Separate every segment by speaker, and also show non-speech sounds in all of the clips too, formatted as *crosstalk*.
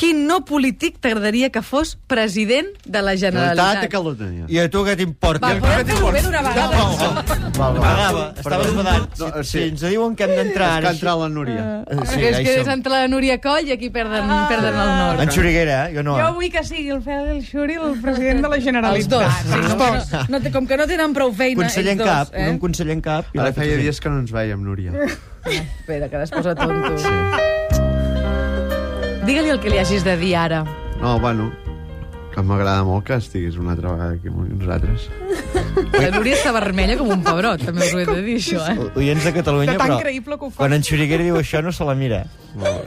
Speaker 1: quin no polític t'agradaria que fos president de la Generalitat?
Speaker 2: Generalitat de Catalunya.
Speaker 3: I a tu què t'importa?
Speaker 1: Va, podem fer-ho bé d'una vegada. això?
Speaker 2: Val, val.
Speaker 3: Pagava, estava
Speaker 2: Perdó.
Speaker 3: enfadant.
Speaker 2: No,
Speaker 3: Si,
Speaker 2: eh,
Speaker 3: si ens diuen que hem d'entrar
Speaker 2: És que
Speaker 3: ara...
Speaker 2: ha entrat la Núria.
Speaker 3: Eh, sí,
Speaker 1: Perquè és
Speaker 3: ja hi
Speaker 1: que és
Speaker 3: som.
Speaker 1: entre la Núria Coll i aquí perden, perden el nord.
Speaker 3: En Xuriguera, eh? Jo no.
Speaker 4: Jo vull que sigui el Fidel Xuri el president de la
Speaker 1: Els dos.
Speaker 4: Generalitat.
Speaker 1: Sí, no,
Speaker 4: dos.
Speaker 1: no, té- com que no tenen prou feina,
Speaker 3: Conseller en
Speaker 1: ells dos. eh?
Speaker 3: cap, un conseller en cap... i
Speaker 2: Ara
Speaker 3: l'altre
Speaker 2: feia
Speaker 3: conseller-
Speaker 2: dies que no ens veiem, Núria.
Speaker 1: Espera, que ara es posa tonto. Digue-li el que li hagis de dir ara.
Speaker 2: No, bueno, que m'agrada molt que estiguis una altra vegada aquí amb nosaltres.
Speaker 1: La Núria està vermella com un pebrot, també us ho he de dir, això, eh?
Speaker 3: O- Oients de Catalunya,
Speaker 4: De tan
Speaker 3: Ah, però...
Speaker 4: creïble que ho fa.
Speaker 3: Quan en Xuriguera diu això, no se la mira.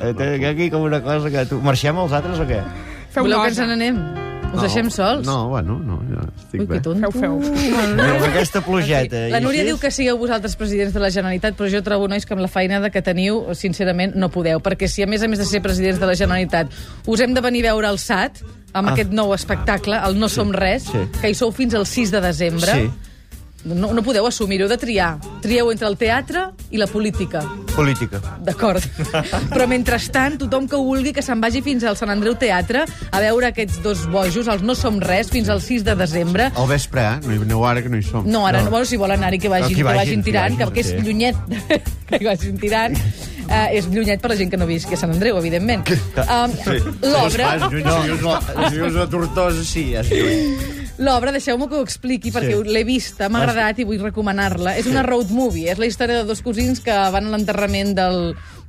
Speaker 3: Eh, Té aquí com una cosa que... Tu... Marxem els altres o què?
Speaker 4: Feu
Speaker 1: Voleu que ens
Speaker 4: nosa.
Speaker 1: n'anem? Us deixem sols?
Speaker 2: No, bueno, no, ja estic
Speaker 1: Ui, que
Speaker 2: bé.
Speaker 1: tonto.
Speaker 4: Feu, feu.
Speaker 3: Amb aquesta plugeta.
Speaker 1: La
Speaker 3: i
Speaker 1: Núria
Speaker 3: així?
Speaker 1: diu que sigueu vosaltres presidents de la Generalitat, però jo trobo, nois, que amb la feinada que teniu, sincerament, no podeu. Perquè si, a més a més de ser presidents de la Generalitat, us hem de venir a veure el SAT, amb
Speaker 3: Ah.
Speaker 1: aquest nou espectacle, el No Som Res,
Speaker 3: Sí.
Speaker 1: que hi sou fins al 6 de desembre,
Speaker 3: Sí.
Speaker 1: no, no podeu assumir-ho, heu de triar. Trieu entre el teatre i la política.
Speaker 3: Política. *laughs*
Speaker 1: D'acord. Però mentrestant, tothom que vulgui que se'n vagi fins al Sant Andreu Teatre a veure aquests dos bojos, els No Som Res, fins al 6 de desembre.
Speaker 2: Al vespre, eh? No hi aneu ara que no hi som.
Speaker 1: No, ara no, bueno, si volen anar-hi que vagin,
Speaker 3: Que
Speaker 1: que
Speaker 3: vagin,
Speaker 1: vagin
Speaker 3: que
Speaker 1: tirant, que,
Speaker 3: vagin,
Speaker 1: que és
Speaker 3: sí.
Speaker 1: llunyet *laughs* que hi vagin tirant. Uh, és llunyet per la gent que no visqui a Sant Andreu, evidentment. Um, L'obra...
Speaker 3: No. Si us la, si us la tortosa, sí, ja sí.
Speaker 1: L'obra, deixeu-me que ho expliqui, perquè
Speaker 3: Sí.
Speaker 1: sí. l'he vista, m'ha agradat i vull recomanar-la. És una road movie, és la història de dos cosins que van a l'enterrament del,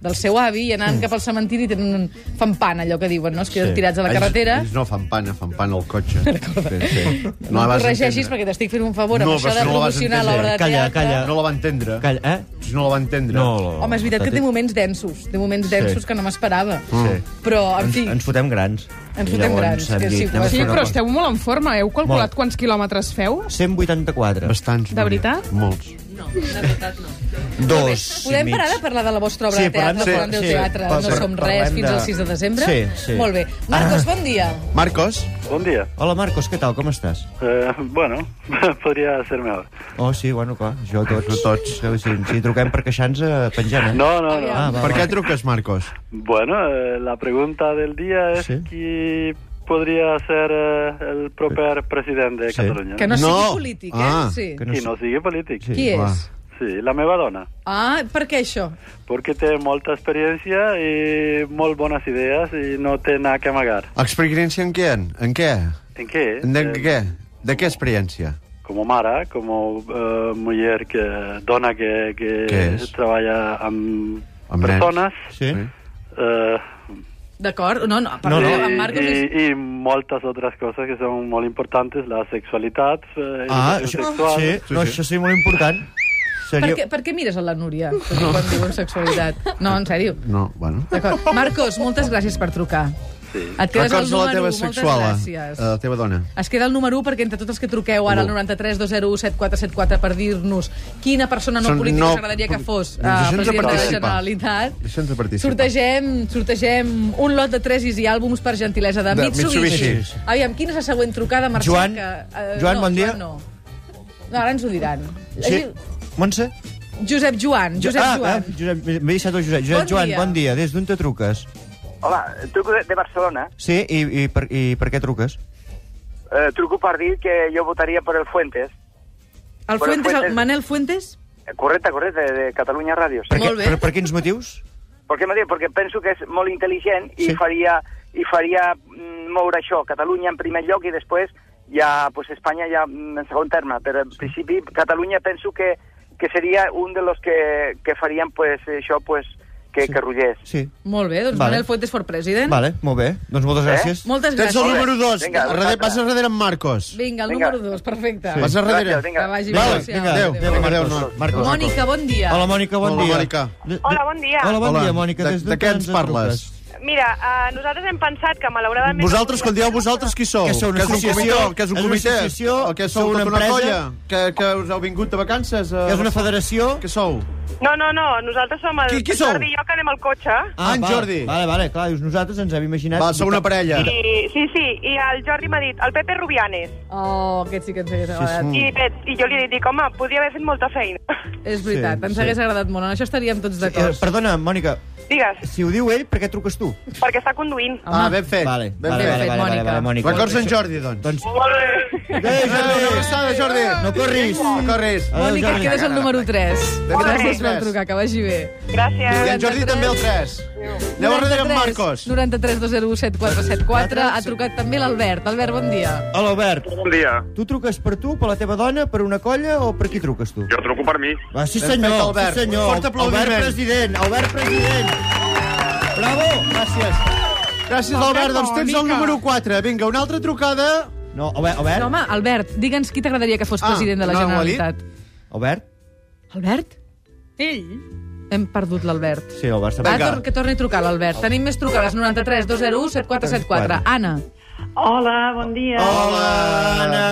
Speaker 1: del seu avi i anant cap al cementiri tenen, un- fan pan, allò que diuen, no? Es queden
Speaker 3: Sí.
Speaker 1: sí. tirats a la carretera.
Speaker 2: Ells, ells no fan pana, fan pana al
Speaker 1: *laughs*
Speaker 2: cotxe. sí, sí.
Speaker 1: No, no
Speaker 2: la vas
Speaker 1: corregeixis
Speaker 2: entendre.
Speaker 1: perquè t'estic fent un favor amb
Speaker 2: No,
Speaker 1: això
Speaker 2: però
Speaker 1: de
Speaker 2: si
Speaker 1: promocionar
Speaker 2: no la vas entendre.
Speaker 1: l'obra de
Speaker 3: Calla,
Speaker 1: teatre.
Speaker 3: calla.
Speaker 2: No la va entendre.
Speaker 3: Calla, eh?
Speaker 2: Si no la va entendre.
Speaker 1: Home, és veritat que té moments densos, té moments densos
Speaker 3: Sí.
Speaker 1: que no m'esperava.
Speaker 3: Sí.
Speaker 1: Però, en
Speaker 3: Ens,
Speaker 1: fi,
Speaker 3: ens fotem grans.
Speaker 1: Ens
Speaker 3: I
Speaker 1: fotem
Speaker 3: llavors
Speaker 1: grans,
Speaker 3: hem
Speaker 1: que sí,
Speaker 3: anem a
Speaker 4: Sí,
Speaker 3: fer una
Speaker 4: però
Speaker 3: cosa.
Speaker 4: esteu molt en forma. Heu calculat
Speaker 3: Molt.
Speaker 4: quants quilòmetres feu?
Speaker 3: 184.
Speaker 2: Bastants.
Speaker 4: De
Speaker 2: Núria.
Speaker 4: veritat?
Speaker 2: Molts.
Speaker 3: Dos.
Speaker 1: podem
Speaker 3: i
Speaker 1: parar de
Speaker 3: mig.
Speaker 1: parlar de la vostra obra
Speaker 3: Sí,
Speaker 1: de teatre,
Speaker 3: parlem de-
Speaker 1: parlant del
Speaker 3: sí,
Speaker 1: teatre,
Speaker 3: pa-
Speaker 1: no
Speaker 3: per-
Speaker 1: som res,
Speaker 3: parlem
Speaker 1: fins
Speaker 3: de-
Speaker 1: al 6 de desembre?
Speaker 3: Sí, sí. Ah.
Speaker 1: Molt bé. Marcos, bon dia.
Speaker 2: Marcos?
Speaker 5: Buen día.
Speaker 3: Hola, Marcos, què tal? Com estàs?
Speaker 5: Eh, bueno, *laughs* podría ser mejor.
Speaker 3: Oh, sí, bueno, clar, jo tots, no tots. Eh, Si, si truquem per queixar-nos, eh, pengem, eh?
Speaker 5: No, no, no.
Speaker 3: Ah, va,
Speaker 2: Per
Speaker 3: va.
Speaker 2: què truques, Marcos?
Speaker 5: Bueno, eh, la pregunta del día es
Speaker 3: Sí.
Speaker 5: que podría ser eh, el proper presidente de
Speaker 3: Sí.
Speaker 5: Cataluña.
Speaker 1: Que no,
Speaker 2: No.
Speaker 1: sigui polític, eh?
Speaker 2: Ah.
Speaker 1: Sí.
Speaker 3: Que
Speaker 5: Qui no sigui polític.
Speaker 3: Sí.
Speaker 1: Qui
Speaker 3: va.
Speaker 1: és?
Speaker 5: Sí, la meva dona.
Speaker 1: Ah, per què això?
Speaker 5: Perquè té molta experiència i molt bones idees i no té nada que amagar.
Speaker 2: Experiència en què? En què?
Speaker 5: En què?
Speaker 2: De
Speaker 5: Eh,
Speaker 2: què? De què experiència?
Speaker 5: Como mare, como eh, muller que dona que,
Speaker 2: Què
Speaker 5: que
Speaker 2: és?
Speaker 5: treballa amb,
Speaker 2: Amb nens.
Speaker 5: persones.
Speaker 3: Sí?
Speaker 5: Eh,
Speaker 1: D'acord? No, no, per
Speaker 3: No,
Speaker 1: no,
Speaker 3: no. Eh,
Speaker 1: no. en
Speaker 5: I,
Speaker 1: Marcos és...
Speaker 5: i, I moltes altres coses que són molt importants, la sexualitat, eh,
Speaker 3: Ah,
Speaker 5: educació
Speaker 3: això,
Speaker 5: sexual...
Speaker 3: sí, no,
Speaker 2: Sí, sí.
Speaker 3: això sí, molt important.
Speaker 1: Per
Speaker 3: Serio...
Speaker 1: què, per què mires a la Núria quan diuen sexualitat? No, en sèrio.
Speaker 2: No, bueno.
Speaker 1: D'acord. Marcos, moltes gràcies per trucar.
Speaker 5: Sí.
Speaker 1: Et quedes al
Speaker 2: Records de
Speaker 1: número
Speaker 2: la teva
Speaker 1: 1, moltes
Speaker 2: sexual, eh,
Speaker 1: gràcies.
Speaker 2: de la teva dona.
Speaker 1: Es queda el número 1 perquè entre tots els que truqueu ara al 93 201 7474 per dir-nos quina persona no
Speaker 2: Són
Speaker 1: política
Speaker 2: nou-
Speaker 1: us agradaria que fos eh,
Speaker 2: Deixa'ns de
Speaker 1: president de la
Speaker 2: participar.
Speaker 1: Generalitat.
Speaker 2: Deixa'ns de participar.
Speaker 1: Sortegem, sortegem un lot de tresis i àlbums per gentilesa de,
Speaker 2: De
Speaker 1: Mitsubishi.
Speaker 2: Mitsubishi.
Speaker 1: Aviam, quina és la següent trucada, Mercè?
Speaker 3: Joan?
Speaker 1: que, eh,
Speaker 3: Joan,
Speaker 1: no,
Speaker 3: bon dia.
Speaker 1: Joan no. no, ara ens ho diran.
Speaker 3: Sí. Montse?
Speaker 1: Josep Joan, eh, Josep
Speaker 3: ah,
Speaker 1: Joan.
Speaker 3: Ah, Josep, m'he deixat el Josep. Josep
Speaker 1: Bon
Speaker 3: Joan,
Speaker 1: dia.
Speaker 3: bon dia. Des d'on te truques?
Speaker 6: Hola, truco de, de Barcelona.
Speaker 3: Sí, i, i, per, i per què truques?
Speaker 6: Eh, truco per dir que jo votaria per el Fuentes.
Speaker 1: El
Speaker 6: Bueno,
Speaker 1: Fuentes, el
Speaker 6: Fuentes.
Speaker 1: Manel Fuentes?
Speaker 6: Eh, Correcte, correcte, de Catalunya Ràdio.
Speaker 3: Per,
Speaker 6: Sí.
Speaker 3: què,
Speaker 1: Molt bé.
Speaker 3: per, per quins motius?
Speaker 6: Per què m'ho diu? Perquè penso que és molt intel·ligent i
Speaker 3: Sí.
Speaker 6: faria, i faria mm, moure això, Catalunya en primer lloc i després ja, pues, Espanya ja mm, en segon terme. Però en principi Catalunya penso que, que seria un de los que, que farien pues, això pues, que,
Speaker 3: Sí.
Speaker 6: sí. que rugés.
Speaker 3: Sí.
Speaker 1: Molt bé, doncs
Speaker 3: Vale.
Speaker 1: Manel Fuentes for president.
Speaker 3: Vale, molt bé. Doncs moltes
Speaker 6: Eh?
Speaker 3: gràcies.
Speaker 1: Moltes
Speaker 2: Tens el
Speaker 1: gràcies.
Speaker 2: número 2.
Speaker 6: Vinga,
Speaker 2: Darrere,
Speaker 6: vosaltres.
Speaker 2: passa darrere en Marcos.
Speaker 1: Vinga, el
Speaker 6: Vinga.
Speaker 1: número 2, perfecte.
Speaker 3: Sí.
Speaker 2: Passa darrere.
Speaker 6: Gràcies, vinga.
Speaker 1: Que vagi bé.
Speaker 2: Vale,
Speaker 1: Adéu,
Speaker 2: vinga, adéu.
Speaker 1: adéu.
Speaker 2: Vinga, adéu, no. Marcos.
Speaker 1: Mònica, bon dia.
Speaker 3: Hola, Mònica, bon
Speaker 2: Hola,
Speaker 3: dia.
Speaker 2: Mònica.
Speaker 3: De- de-
Speaker 7: Hola, bon dia.
Speaker 3: Hola, bon
Speaker 2: Hola.
Speaker 3: dia, Mònica.
Speaker 2: De-
Speaker 3: Des
Speaker 2: de
Speaker 3: d'on
Speaker 2: què ens parles?
Speaker 3: truques?
Speaker 7: Mira, uh, nosaltres hem pensat que malauradament...
Speaker 2: Vosaltres, quan dieu vosaltres, qui sou?
Speaker 3: Que sou una
Speaker 2: és un
Speaker 3: associació?
Speaker 2: comitè? Que és un
Speaker 3: És una
Speaker 2: comitè?
Speaker 3: associació?
Speaker 2: O que sou
Speaker 3: Sou
Speaker 2: tota
Speaker 3: una
Speaker 2: una
Speaker 3: empresa?
Speaker 2: colla? Que, que us heu vingut de vacances? A...
Speaker 3: És una federació?
Speaker 2: Què sou?
Speaker 7: No, no, no, nosaltres som el
Speaker 2: Qui- qui sou?
Speaker 7: Jordi i jo que anem al cotxe.
Speaker 2: Ah, en
Speaker 3: vale,
Speaker 2: Jordi.
Speaker 3: Vale, vale, clar, dius, nosaltres ens havíem imaginat...
Speaker 2: Va, sou una parella.
Speaker 7: I, sí, sí, i el Jordi m'ha dit, el Pepe Rubianes.
Speaker 1: Oh, aquest sí que ens hagués agradat.
Speaker 7: I,
Speaker 2: Mm.
Speaker 7: Pep, I jo li he dit, dic, home, podria haver fet molta feina. *laughs*
Speaker 1: És veritat,
Speaker 3: Sí,
Speaker 1: ens
Speaker 3: sí.
Speaker 1: hagués agradat molt. En això estaríem tots
Speaker 3: Eh,
Speaker 1: d'acord.
Speaker 3: perdona, Mònica,
Speaker 8: Digues,
Speaker 3: Si ho diu ell, per què truques tu?
Speaker 8: perquè està conduint.
Speaker 2: Ah, ben fet.
Speaker 3: Vale,
Speaker 2: ben
Speaker 3: vale,
Speaker 2: fet.
Speaker 3: vale, vale, vale,
Speaker 1: Mònica.
Speaker 3: vale, Mònica.
Speaker 2: Record Sant Jordi, doncs.
Speaker 3: Doncs...
Speaker 8: Molt bé.
Speaker 3: Adéu,
Speaker 2: Una
Speaker 3: Jordi!
Speaker 2: abraçada, Jordi.
Speaker 3: No corris!
Speaker 2: No corris.
Speaker 3: Adéu,
Speaker 1: Mònica,
Speaker 3: Jordi.
Speaker 1: quedes el número 3.
Speaker 2: Molt bé.
Speaker 1: Gràcies per trucar, que vagi bé.
Speaker 2: I
Speaker 8: Gràcies.
Speaker 2: en Jordi també el 3. Aneu darrere en
Speaker 1: 93,
Speaker 2: Marcos.
Speaker 1: 93 207 474. Ha trucat també l'Albert. Albert, bon dia.
Speaker 3: Hola, Albert.
Speaker 6: Bon dia.
Speaker 3: Tu truques per tu, per la teva dona, per una colla o per qui truques tu?
Speaker 6: Jo truco per mi.
Speaker 3: Va, sí,
Speaker 2: Ben fet,
Speaker 3: senyor,
Speaker 2: Albert.
Speaker 3: sí, senyor.
Speaker 2: Fort aplaudiment.
Speaker 3: Albert, president, Albert, president. Bravo!
Speaker 2: Gràcies. Gràcies, Albert. Doncs tens el número 4. Vinga, una altra trucada.
Speaker 3: No, Albert,
Speaker 1: No,
Speaker 3: Albert,
Speaker 1: home, Albert, digue'ns qui t'agradaria que fos
Speaker 2: Ah,
Speaker 1: president de la
Speaker 2: no, ho ha dit?
Speaker 1: Generalitat.
Speaker 3: Albert?
Speaker 1: Albert?
Speaker 4: Ell?
Speaker 1: Hem perdut l'Albert.
Speaker 3: Sí, Albert,
Speaker 1: Va,
Speaker 3: està
Speaker 2: Vinga.
Speaker 1: tor que torni a trucar l'Albert. Tenim més trucades, 93 201 7474. Anna.
Speaker 9: Hola, bon dia.
Speaker 3: Hola, Anna,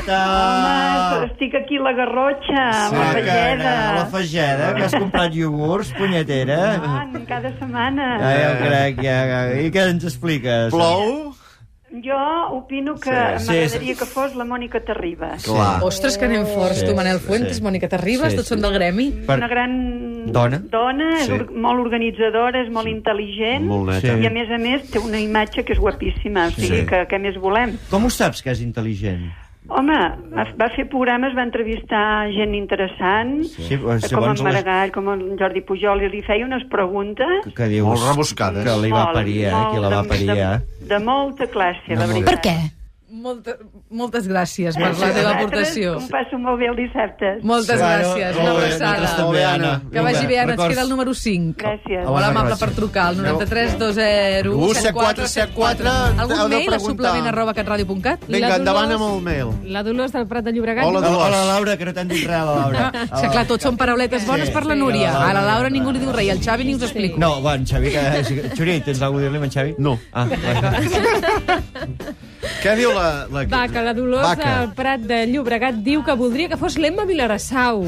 Speaker 2: Ah.
Speaker 9: Home,
Speaker 3: tal?
Speaker 9: estic aquí a la Garrotxa, a la
Speaker 3: Maca,
Speaker 9: Fageda.
Speaker 3: Anna, La fageda, que has comprat iogurts, punyetera.
Speaker 1: Ah,
Speaker 9: Tant, cada setmana.
Speaker 3: Ja, ja ho crec, ja, ja. I què ens expliques?
Speaker 2: Plou?
Speaker 9: Jo opino
Speaker 3: Sí,
Speaker 9: que
Speaker 3: sí,
Speaker 9: m'agradaria
Speaker 3: sí.
Speaker 9: que fos la Mònica Terribas.
Speaker 3: Sí.
Speaker 2: Clar.
Speaker 1: Ostres, que anem forts,
Speaker 3: Ah. Sí,
Speaker 1: tu, Manel
Speaker 3: sí,
Speaker 1: Fuentes,
Speaker 3: sí.
Speaker 1: Mònica, t'arribes?
Speaker 3: Sí,
Speaker 1: Tots
Speaker 3: sí.
Speaker 1: són del gremi?
Speaker 3: Per-
Speaker 9: Una gran
Speaker 3: Dona.
Speaker 9: dona és
Speaker 3: Sí.
Speaker 9: or molt organitzadora, és molt intel·ligent.
Speaker 2: Molt neta.
Speaker 3: Sí.
Speaker 9: I, a més a més, té una imatge que és guapíssima. O sigui,
Speaker 3: Sí.
Speaker 9: que què més volem?
Speaker 3: Com ho saps que és intel·ligent?
Speaker 9: Home, va- va fer programes, va entrevistar gent interessant,
Speaker 3: Sí,
Speaker 9: eh,
Speaker 3: doncs,
Speaker 9: com
Speaker 3: segons
Speaker 9: en Maragall, com en Jordi Pujol, i li feia unes preguntes...
Speaker 3: Que, que dius...
Speaker 2: Molt rebuscades.
Speaker 3: Que li va
Speaker 9: molt,
Speaker 3: parir, eh?
Speaker 9: molt
Speaker 3: Qui la va
Speaker 9: de-
Speaker 3: parir, eh?
Speaker 9: De, de molta classe, la
Speaker 3: molt bé.
Speaker 9: veritat.
Speaker 10: Per què?
Speaker 1: Molta, moltes gràcies per la teva aportació.
Speaker 9: Em passo molt bé el dissabte.
Speaker 1: Moltes gràcies, una abraçada.
Speaker 2: també.
Speaker 1: Que vagi bé, Anna, ens queda el número 5.
Speaker 9: Gràcies.
Speaker 1: Molt amable per trucar, al 93 201 7474.
Speaker 2: Heu
Speaker 1: Algun
Speaker 2: de
Speaker 1: mail a
Speaker 2: preguntar.
Speaker 1: suplement arroba catradio.cat?
Speaker 2: Vinga,
Speaker 4: La
Speaker 2: endavant
Speaker 4: Dolors.
Speaker 2: amb el mail.
Speaker 4: La Dolors del Prat de Llobregat.
Speaker 2: Hola,
Speaker 3: Hola,
Speaker 2: Dolors.
Speaker 3: hola, Laura, que no t'han dit res, la Laura.
Speaker 1: Sí, clar, tot són parauletes bones
Speaker 3: Sí,
Speaker 1: per la
Speaker 3: sí,
Speaker 1: Núria.
Speaker 3: la Laura.
Speaker 1: A la Laura ningú li diu res, i al Xavi ni us explico.
Speaker 3: No, va, en Xavi, que... Xuri, tens alguna cosa a dir-li, amb en Xavi?
Speaker 2: No.
Speaker 3: Ah,
Speaker 1: *laughs*
Speaker 3: va.
Speaker 2: Què diu la... la...
Speaker 4: Va, que la Dolors
Speaker 2: Vaca.
Speaker 4: del Prat de Llobregat diu que voldria que fos l'Emma Vilarassau,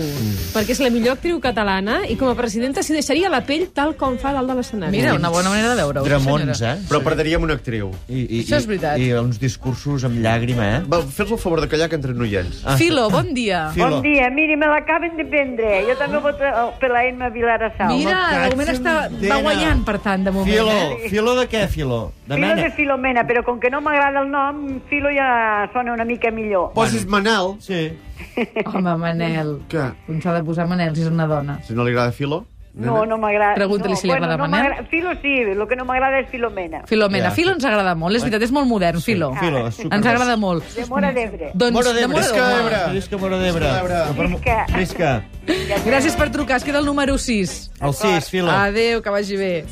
Speaker 4: perquè és la millor actriu catalana i com a presidenta s'hi deixaria la pell tal com fa dalt de l'escenari.
Speaker 1: Mira, una bona manera de veure-ho. sí,
Speaker 3: Dramons,
Speaker 1: senyora.
Speaker 3: eh?
Speaker 2: Però perderíem una actriu.
Speaker 3: I, i,
Speaker 1: Això és veritat.
Speaker 3: I, i uns discursos amb llàgrima, eh?
Speaker 2: Va, fes el favor de callar que entre no hi ets.
Speaker 3: Ah,
Speaker 1: Filo, bon dia.
Speaker 3: Filo.
Speaker 9: Bon dia, miri, me l'acaben de prendre. Jo també voto per la Emma Vilarassau.
Speaker 1: Mira,
Speaker 3: Home,
Speaker 1: de moment està, va
Speaker 3: Càtxem,
Speaker 1: guanyant, per tant, de moment.
Speaker 3: Filo,
Speaker 1: eh?
Speaker 3: filo de què, Filo? De
Speaker 9: Filo
Speaker 3: mena?
Speaker 9: de Filomena, però com que no m'agrada el nom, Filo ja sona una mica millor.
Speaker 2: Posis Manel,
Speaker 3: Sí.
Speaker 1: Home, Manel.
Speaker 2: que
Speaker 1: Com s'ha de posar Manel si és una dona?
Speaker 2: si no li agrada Filo...
Speaker 9: No, no m'agrada.
Speaker 1: Pregunta-li
Speaker 9: no,
Speaker 1: si li agrada
Speaker 9: no
Speaker 1: Manel.
Speaker 9: m'agrada- Filo sí, el que no m'agrada és Filomena.
Speaker 1: Filomena.
Speaker 3: Ja.
Speaker 1: Filo ens agrada molt, és veritat, és molt modern, Filo. Ah.
Speaker 3: Filo, és super...
Speaker 1: Ens agrada molt.
Speaker 9: De Mora d'Ebre.
Speaker 1: Doncs,
Speaker 3: Mora d'Ebre.
Speaker 1: de
Speaker 2: Visca
Speaker 1: d'Ebre.
Speaker 2: Ebre.
Speaker 3: Visca Mora d'Ebre.
Speaker 9: Visca.
Speaker 3: Visca.
Speaker 1: Gràcies per trucar, es queda el número 6.
Speaker 3: El 6, Filo.
Speaker 1: Adéu, que vagi bé.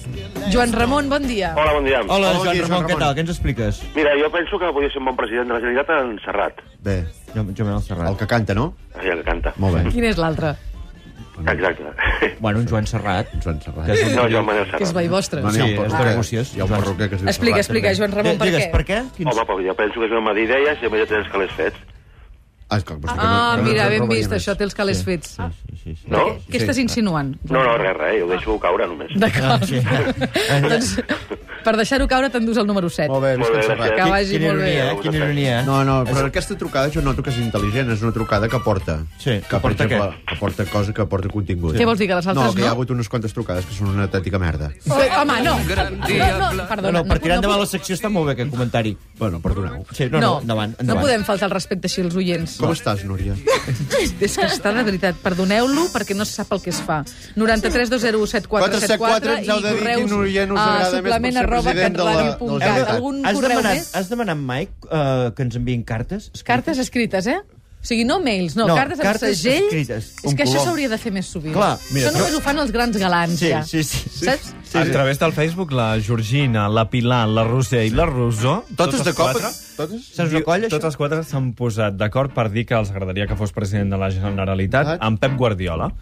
Speaker 1: Joan Ramon, bon dia.
Speaker 6: Hola, bon dia.
Speaker 3: Hola,
Speaker 2: Hola,
Speaker 3: Joan
Speaker 2: Joan
Speaker 3: Ramon, què
Speaker 2: Ramon.
Speaker 3: tal? Què ens expliques?
Speaker 6: Mira, jo penso que podria ser un bon president de la Generalitat en Serrat,
Speaker 2: Bé,
Speaker 3: Jo, jo m'he Serrat.
Speaker 2: el que canta, no?
Speaker 6: aquell que canta.
Speaker 2: Molt bé.
Speaker 1: Quin és l'altre?
Speaker 6: Exacte. *laughs*
Speaker 3: Bueno, en Joan Serrat.
Speaker 2: Joan Serrat.
Speaker 3: Que és un...
Speaker 6: No, Joan Manel
Speaker 1: Que és
Speaker 6: Serrat.
Speaker 1: veí vostre.
Speaker 2: n'hi ha un
Speaker 3: Sí,
Speaker 2: perruquer.
Speaker 3: és Bergossiós.
Speaker 2: Hi ha un perruquer que es diu
Speaker 1: Explica,
Speaker 2: Serrat,
Speaker 1: explica, Joan Ramon, per
Speaker 3: Digues,
Speaker 1: què?
Speaker 3: per què? Quins...
Speaker 6: Home, però jo penso que és una mà d'idees i a més ja tens que les fets.
Speaker 2: també. Ah, és que, que no-
Speaker 1: Ah,
Speaker 2: que no-
Speaker 1: mira,
Speaker 2: que no
Speaker 1: ben
Speaker 2: roba
Speaker 1: vist,
Speaker 2: res.
Speaker 1: això té els calés fets.
Speaker 3: Sí, sí, sí.
Speaker 6: No?
Speaker 1: Què estàs insinuant?
Speaker 6: No, no, res, res, jo ho deixo caure només.
Speaker 1: D'acord.
Speaker 3: Sí.
Speaker 1: doncs, per deixar-ho caure, t'endús el número 7.
Speaker 2: Molt bé,
Speaker 6: Molt bé,
Speaker 2: visca Serrat.
Speaker 1: Que
Speaker 6: gràcies.
Speaker 1: vagi
Speaker 3: Quina
Speaker 1: molt bé.
Speaker 3: ironia, eh? Quina ironia.
Speaker 2: No, no, però aquesta trucada jo noto que és intel·ligent, és una trucada que aporta.
Speaker 3: Sí,
Speaker 2: que
Speaker 3: aporta
Speaker 2: per exemple, què? Aporta cosa que aporta contingut.
Speaker 1: Què vols dir, que les altres
Speaker 2: No, que hi ha
Speaker 1: no?
Speaker 2: hagut unes quantes trucades que són una tàtica merda.
Speaker 1: Oh, home, no. No, no,
Speaker 3: No,
Speaker 1: perdona.
Speaker 3: no, per tirar
Speaker 1: no,
Speaker 3: endavant la secció està molt bé aquest comentari.
Speaker 2: Bueno, perdoneu.
Speaker 3: Sí,
Speaker 1: no,
Speaker 3: no, no, endavant,
Speaker 1: no
Speaker 3: endavant.
Speaker 1: podem faltar el respecte així als oients.
Speaker 2: Com estàs, Núria?
Speaker 1: És que està de veritat. Perdoneu-lo perquè no se sap el que es fa. 93 201 7474
Speaker 2: 474, ens
Speaker 1: i
Speaker 2: heu de dir
Speaker 1: correus
Speaker 2: quin orient us
Speaker 1: a
Speaker 2: agrada més per
Speaker 1: suplement
Speaker 2: ser
Speaker 1: arroba
Speaker 2: president de la- de la
Speaker 1: catradio.cat.
Speaker 2: Generalitat.
Speaker 1: Algun
Speaker 3: has
Speaker 1: correu
Speaker 3: demanat,
Speaker 1: més?
Speaker 3: Has demanat mai eh, que ens enviïn cartes? Escrites?
Speaker 1: Cartes escrites, eh? O sigui, no mails, no,
Speaker 3: No,
Speaker 1: cartes amb
Speaker 3: cartes
Speaker 1: segell.
Speaker 3: escrites,
Speaker 1: és
Speaker 3: un
Speaker 1: que això
Speaker 3: color.
Speaker 1: s'hauria de fer més sovint.
Speaker 3: Clar, mira,
Speaker 1: això només ho fan els grans galants,
Speaker 3: Sí,
Speaker 1: ja.
Speaker 3: sí, sí. sí.
Speaker 1: Saps?
Speaker 11: A través del Facebook, la Georgina, la Pilar, la Roser i la Rosó...
Speaker 2: Totes de cop?
Speaker 11: quatre,
Speaker 2: Totes?
Speaker 3: Saps una colla,
Speaker 11: Totes
Speaker 3: això?
Speaker 11: quatre s'han posat d'acord per dir que els agradaria que fos president de la Generalitat
Speaker 2: Ah.
Speaker 11: amb Pep Guardiola.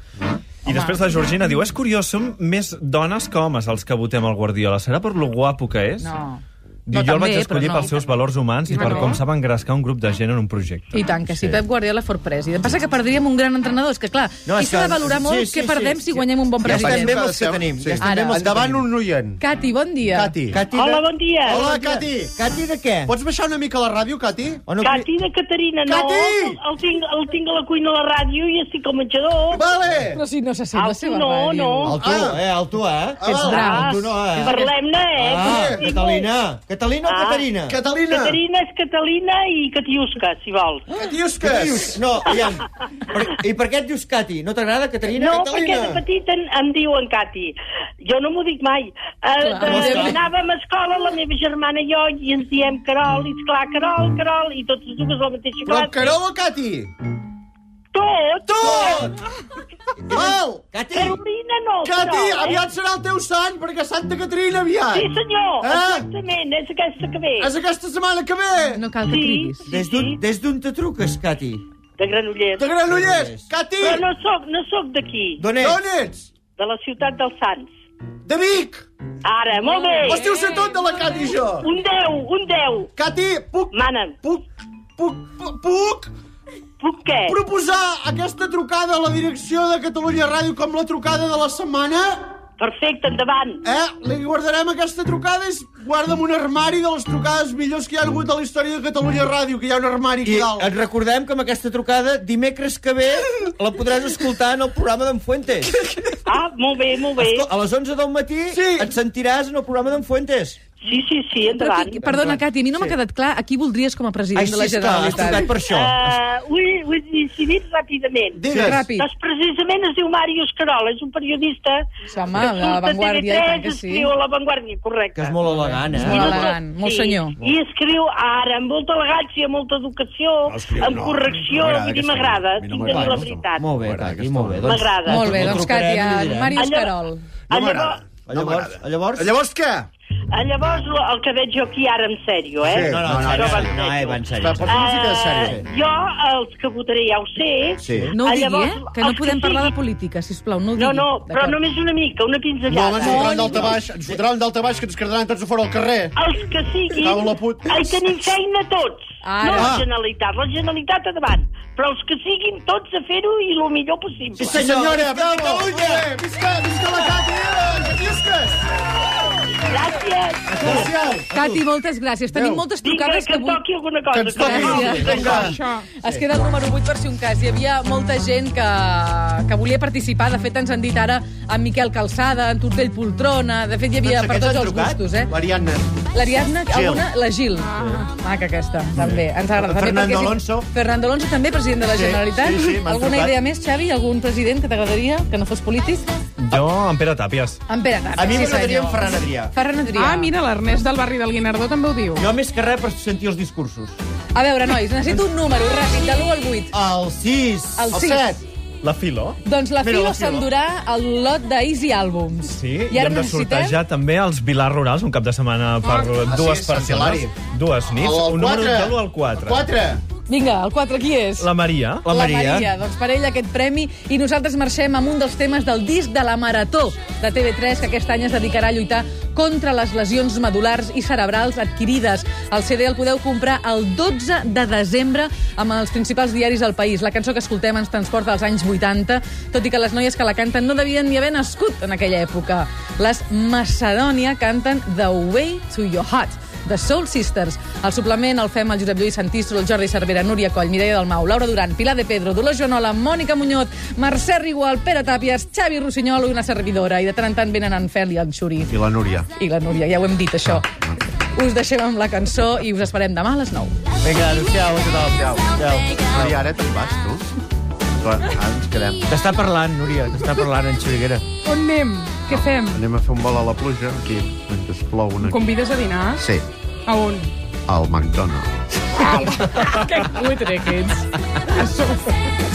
Speaker 11: I després la Georgina diu, és curiós, som més dones que homes els que votem el Guardiola. Serà per lo guapo que és?
Speaker 1: No.
Speaker 12: Diu, jo el vaig escollir pels seus valors humans i
Speaker 1: Ah,
Speaker 12: per
Speaker 1: no?
Speaker 12: com sap engrescar un grup de gent en un projecte.
Speaker 1: I tant, que si Pep Guardiola fos president. Passa que perdríem un gran entrenador, és que clar,
Speaker 11: No,
Speaker 1: no,
Speaker 11: és
Speaker 1: aquí s'ha de
Speaker 11: que-
Speaker 1: valorar molt
Speaker 11: sí, sí,
Speaker 1: què
Speaker 11: sí,
Speaker 1: perdem
Speaker 11: sí.
Speaker 1: si guanyem un bon
Speaker 11: Ja estem
Speaker 1: president.
Speaker 11: bé amb els que tenim. Ja estem
Speaker 1: Ara.
Speaker 11: bé amb els que
Speaker 1: Endavant
Speaker 11: tenim.
Speaker 1: un
Speaker 11: noient.
Speaker 1: Cati, bon dia.
Speaker 11: Cati. Cati de-
Speaker 9: Hola, bon dia.
Speaker 11: Hola,
Speaker 9: Bon dia.
Speaker 11: Cati. Cati de què? Pots baixar una mica la ràdio, Cati? O
Speaker 9: Cati de Caterina, no?
Speaker 11: Cati!
Speaker 9: El, el, tinc, el tinc a la cuina a la ràdio i estic al menjador.
Speaker 11: Vale!
Speaker 1: Però si no se sent
Speaker 9: el,
Speaker 1: la seva
Speaker 9: no,
Speaker 1: ràdio.
Speaker 9: No,
Speaker 3: El tu,
Speaker 9: Ah.
Speaker 3: eh? El tu, eh?
Speaker 9: Ets
Speaker 3: Ah,
Speaker 9: braç.
Speaker 3: El tu no, eh?
Speaker 9: Parlem-ne, eh? Ah.
Speaker 3: Ah, Catalina.
Speaker 9: Que-
Speaker 3: Catalina o Caterina?
Speaker 9: Caterina és Catalina i Catiusca, si vols.
Speaker 11: Ah,
Speaker 3: Catiusques. Catius- no, aviam. Per, I per què et dius Cati? No t'agrada Caterina?
Speaker 9: No,
Speaker 3: Catalina?
Speaker 9: perquè de petit en, em diuen Cati. Jo no m'ho dic mai. Eh, de,
Speaker 3: Com està?
Speaker 9: anàvem a escola, la meva germana i jo, i ens diem Carol, i esclar, Carol, Carol, i totes dues la mateixa
Speaker 11: Però
Speaker 9: classe.
Speaker 11: Carol o Cati?
Speaker 9: Tot!
Speaker 11: Tot! Val!
Speaker 3: Cati!
Speaker 11: Carolina
Speaker 9: no,
Speaker 11: Cati,
Speaker 9: però, eh?
Speaker 11: aviat serà el teu sant, perquè Santa Caterina aviat.
Speaker 9: Sí, senyor,
Speaker 11: Eh?
Speaker 9: exactament, és aquesta que ve.
Speaker 11: És aquesta setmana que ve.
Speaker 1: No cal
Speaker 9: que Sí, cridis. sí,
Speaker 3: Des d'on- Des d'on te truques, Cati?
Speaker 9: De Granollers.
Speaker 11: De Granollers. Cati!
Speaker 9: Però no sóc, no sóc d'aquí.
Speaker 3: D'on ets? D'on
Speaker 11: ets?
Speaker 9: De la ciutat dels Sants.
Speaker 11: De Vic!
Speaker 9: Ara, molt bé.
Speaker 11: Hòstia, ho sé tot de la Cati, jo.
Speaker 9: Un 10, un 10.
Speaker 11: Cati, puc...
Speaker 9: Mana'm.
Speaker 11: Puc... Puc... pu- Puc...
Speaker 9: Puc què?
Speaker 11: Proposar aquesta trucada a la direcció de Catalunya Ràdio com la trucada de la setmana?
Speaker 9: Perfecte, endavant.
Speaker 11: Eh? Li guardarem aquesta trucada i es guarda en un armari de les trucades millors que hi ha hagut a la història de Catalunya Ràdio, que hi ha un armari aquí
Speaker 3: I
Speaker 11: dalt.
Speaker 3: et recordem que amb aquesta trucada, dimecres que ve, la podràs escoltar en el programa d'en Fuentes.
Speaker 9: Ah, molt bé, molt bé.
Speaker 3: A les 11 del matí sí. et sentiràs en el programa d'en Fuentes.
Speaker 9: Sí, sí, sí,
Speaker 1: Però qui, perdona, Cati, a mi no m'ha quedat clar a qui voldries com a president
Speaker 3: Ai,
Speaker 1: de la
Speaker 3: sí, és clar, l'he
Speaker 1: Generalitat.
Speaker 3: trucat per això.
Speaker 9: Uh, ho, he, ho he decidit ràpidament.
Speaker 1: Digues. Ràpid.
Speaker 9: Doncs precisament es diu Màrius Carola, és un periodista
Speaker 1: home,
Speaker 9: que
Speaker 1: a La
Speaker 9: surt a
Speaker 1: Vanguardia, i tant
Speaker 9: TV3,
Speaker 1: que sí.
Speaker 9: escriu a La Vanguardia, correcte.
Speaker 3: Que és molt elegant, eh?
Speaker 1: És molt elegant, molt senyor.
Speaker 9: I escriu ara amb molta elegància, molta educació,
Speaker 3: Ah, escriu,
Speaker 9: amb
Speaker 3: no, no
Speaker 9: correcció,
Speaker 3: m'agrada que
Speaker 9: vull dir,
Speaker 3: escriu.
Speaker 9: m'agrada,
Speaker 3: A mi no
Speaker 9: tinc de dir
Speaker 3: m'agrada,
Speaker 9: la veritat.
Speaker 3: Molt bé, Cati, molt bé. Doncs,
Speaker 9: M'agrada.
Speaker 1: Molt bé,
Speaker 3: no
Speaker 1: doncs,
Speaker 3: trucarem
Speaker 1: Cati,
Speaker 3: ni
Speaker 1: a
Speaker 3: direm.
Speaker 1: Màrius Carol.
Speaker 9: No m'agrada.
Speaker 3: Ah, Llavors, llavors...
Speaker 11: Ah, Llavors què?
Speaker 9: Ah, Llavors, el que veig jo aquí ara en sèrio, eh?
Speaker 3: Sí, no, no, no,
Speaker 9: Això
Speaker 3: no,
Speaker 9: va
Speaker 3: no,
Speaker 9: en
Speaker 3: no,
Speaker 9: sèrio.
Speaker 3: eh, va en sèrio. Està,
Speaker 9: Ah,
Speaker 3: posa música de sèrio.
Speaker 9: Eh, jo, els que votaré ja ho sé.
Speaker 3: Sí.
Speaker 1: No ho
Speaker 9: Ah,
Speaker 1: digui,
Speaker 9: llavors,
Speaker 1: eh? Que
Speaker 9: els
Speaker 1: no podem
Speaker 9: sí-
Speaker 1: parlar de política, sisplau, no ho digui.
Speaker 9: No, no, però
Speaker 1: D'acord.
Speaker 9: només una mica, una pinzellada.
Speaker 11: No, ens fotran d'alta baix, ens fotran d'alta baix, que ens quedaran tots a fora al carrer.
Speaker 9: Els que
Speaker 11: Cau
Speaker 9: siguin,
Speaker 11: la put-
Speaker 9: ai, tenim feina tots.
Speaker 11: Ara.
Speaker 9: No
Speaker 11: Ah.
Speaker 9: la Generalitat, la Generalitat a davant. Però els que siguin tots a fer-ho i el millor possible.
Speaker 11: Sí, senyora, visca Catalunya! Visca, visca la Cati! eh, Llisques!
Speaker 9: Gràcies.
Speaker 11: Gràcies.
Speaker 1: Cati, moltes gràcies. Tenim moltes trucades
Speaker 9: Vinga, que
Speaker 1: avui-
Speaker 9: toqui alguna cosa.
Speaker 1: Que ens toqui.
Speaker 9: Gràcies.
Speaker 1: Gràcies.
Speaker 9: Vinga.
Speaker 1: Es queda el número 8 per si un cas. Hi havia molta gent que, que volia participar. De fet, ens han dit ara en Miquel Calçada, en Tortell Poltrona... De fet, hi havia
Speaker 11: Doncs
Speaker 1: per
Speaker 11: aquests
Speaker 1: tots
Speaker 11: han
Speaker 1: els
Speaker 11: trucat?
Speaker 1: gustos, eh?
Speaker 11: L'Ariadna.
Speaker 1: L'Ariadna,
Speaker 11: Gil.
Speaker 1: alguna? La Gil.
Speaker 13: Ah.
Speaker 1: Maca, aquesta, també. Ens agrada. també
Speaker 11: Fernando
Speaker 1: perquè sí.
Speaker 11: Alonso.
Speaker 1: Fernando Alonso, també president de la
Speaker 12: Sí,
Speaker 1: Generalitat.
Speaker 12: sí, sí, m'han
Speaker 1: Alguna
Speaker 12: trucat.
Speaker 1: idea més, Xavi? Algun president que t'agradaria, que no fos polític?
Speaker 12: Jo, en Pere Tàpies.
Speaker 1: En Pere Tàpies,
Speaker 3: A mi
Speaker 1: sí,
Speaker 3: m'agradaria en
Speaker 1: senyor.
Speaker 3: Ferran Adrià.
Speaker 1: Ferran Adrià.
Speaker 13: Ah, mira, l'Ernest del barri del Guinardó també ho diu.
Speaker 3: Jo més que res per sentir els discursos.
Speaker 1: A veure, nois, necessito un número ràpid, de l'1 al 8.
Speaker 3: El 6.
Speaker 1: El El sis. set.
Speaker 12: La Filó.
Speaker 1: Doncs la
Speaker 12: Mira,
Speaker 1: Filo
Speaker 12: la Filo.
Speaker 1: s'endurà el lot d'Easy Albums.
Speaker 12: Sí, i,
Speaker 1: I ara
Speaker 12: hem de
Speaker 1: necessitem-
Speaker 12: sortejar també els Vilars Rurals, un cap de setmana per
Speaker 1: Ah,
Speaker 12: dues
Speaker 1: sí, Sant
Speaker 12: persones.
Speaker 1: Hilari.
Speaker 12: Dues nits.
Speaker 1: El- el
Speaker 12: un número
Speaker 1: quatre.
Speaker 12: de l'1 al 4.
Speaker 1: Vinga, el 4 qui és?
Speaker 12: La Maria.
Speaker 1: La Maria. Doncs per ell aquest premi. I nosaltres marxem amb un dels temes del disc de la Marató de TV3, que aquest any es dedicarà a lluitar contra les lesions medulars i cerebrals adquirides. El CD el podeu comprar el 12 de desembre amb els principals diaris del país. La cançó que escoltem ens transporta als anys 80, tot i que les noies que la canten no devien ni haver nascut en aquella època. Les Macedònia canten The Way to Your Heart de Soul Sisters. El suplement el fem el Josep Lluís Santistro, el Jordi Cervera, Núria Coll, Mireia Dalmau, Laura Duran, Pilar de Pedro, Dolors Joanola, Mònica Muñoz, Mercè Rigual, Pere Tàpies, Xavi Rossinyol i una servidora. I de tant en tant venen en Fel i en Xuri.
Speaker 2: I la Núria.
Speaker 1: I la Núria, ja ho hem dit, això. Us deixem amb la cançó i us esperem demà a les 9.
Speaker 3: Vinga, adéu-siau, què tal? Adéu.
Speaker 2: Maria, ara te'n vas, tu? Clar, ara ens quedem.
Speaker 3: T'està parlant, Núria, t'està parlant en Xuriguera.
Speaker 13: On anem? Què fem?
Speaker 2: Anem a fer un vol a la pluja, aquí, mentre es plou una...
Speaker 13: Em convides a dinar?
Speaker 2: Sí,
Speaker 13: A on?
Speaker 2: al McDonald's.
Speaker 13: que cutre que ets.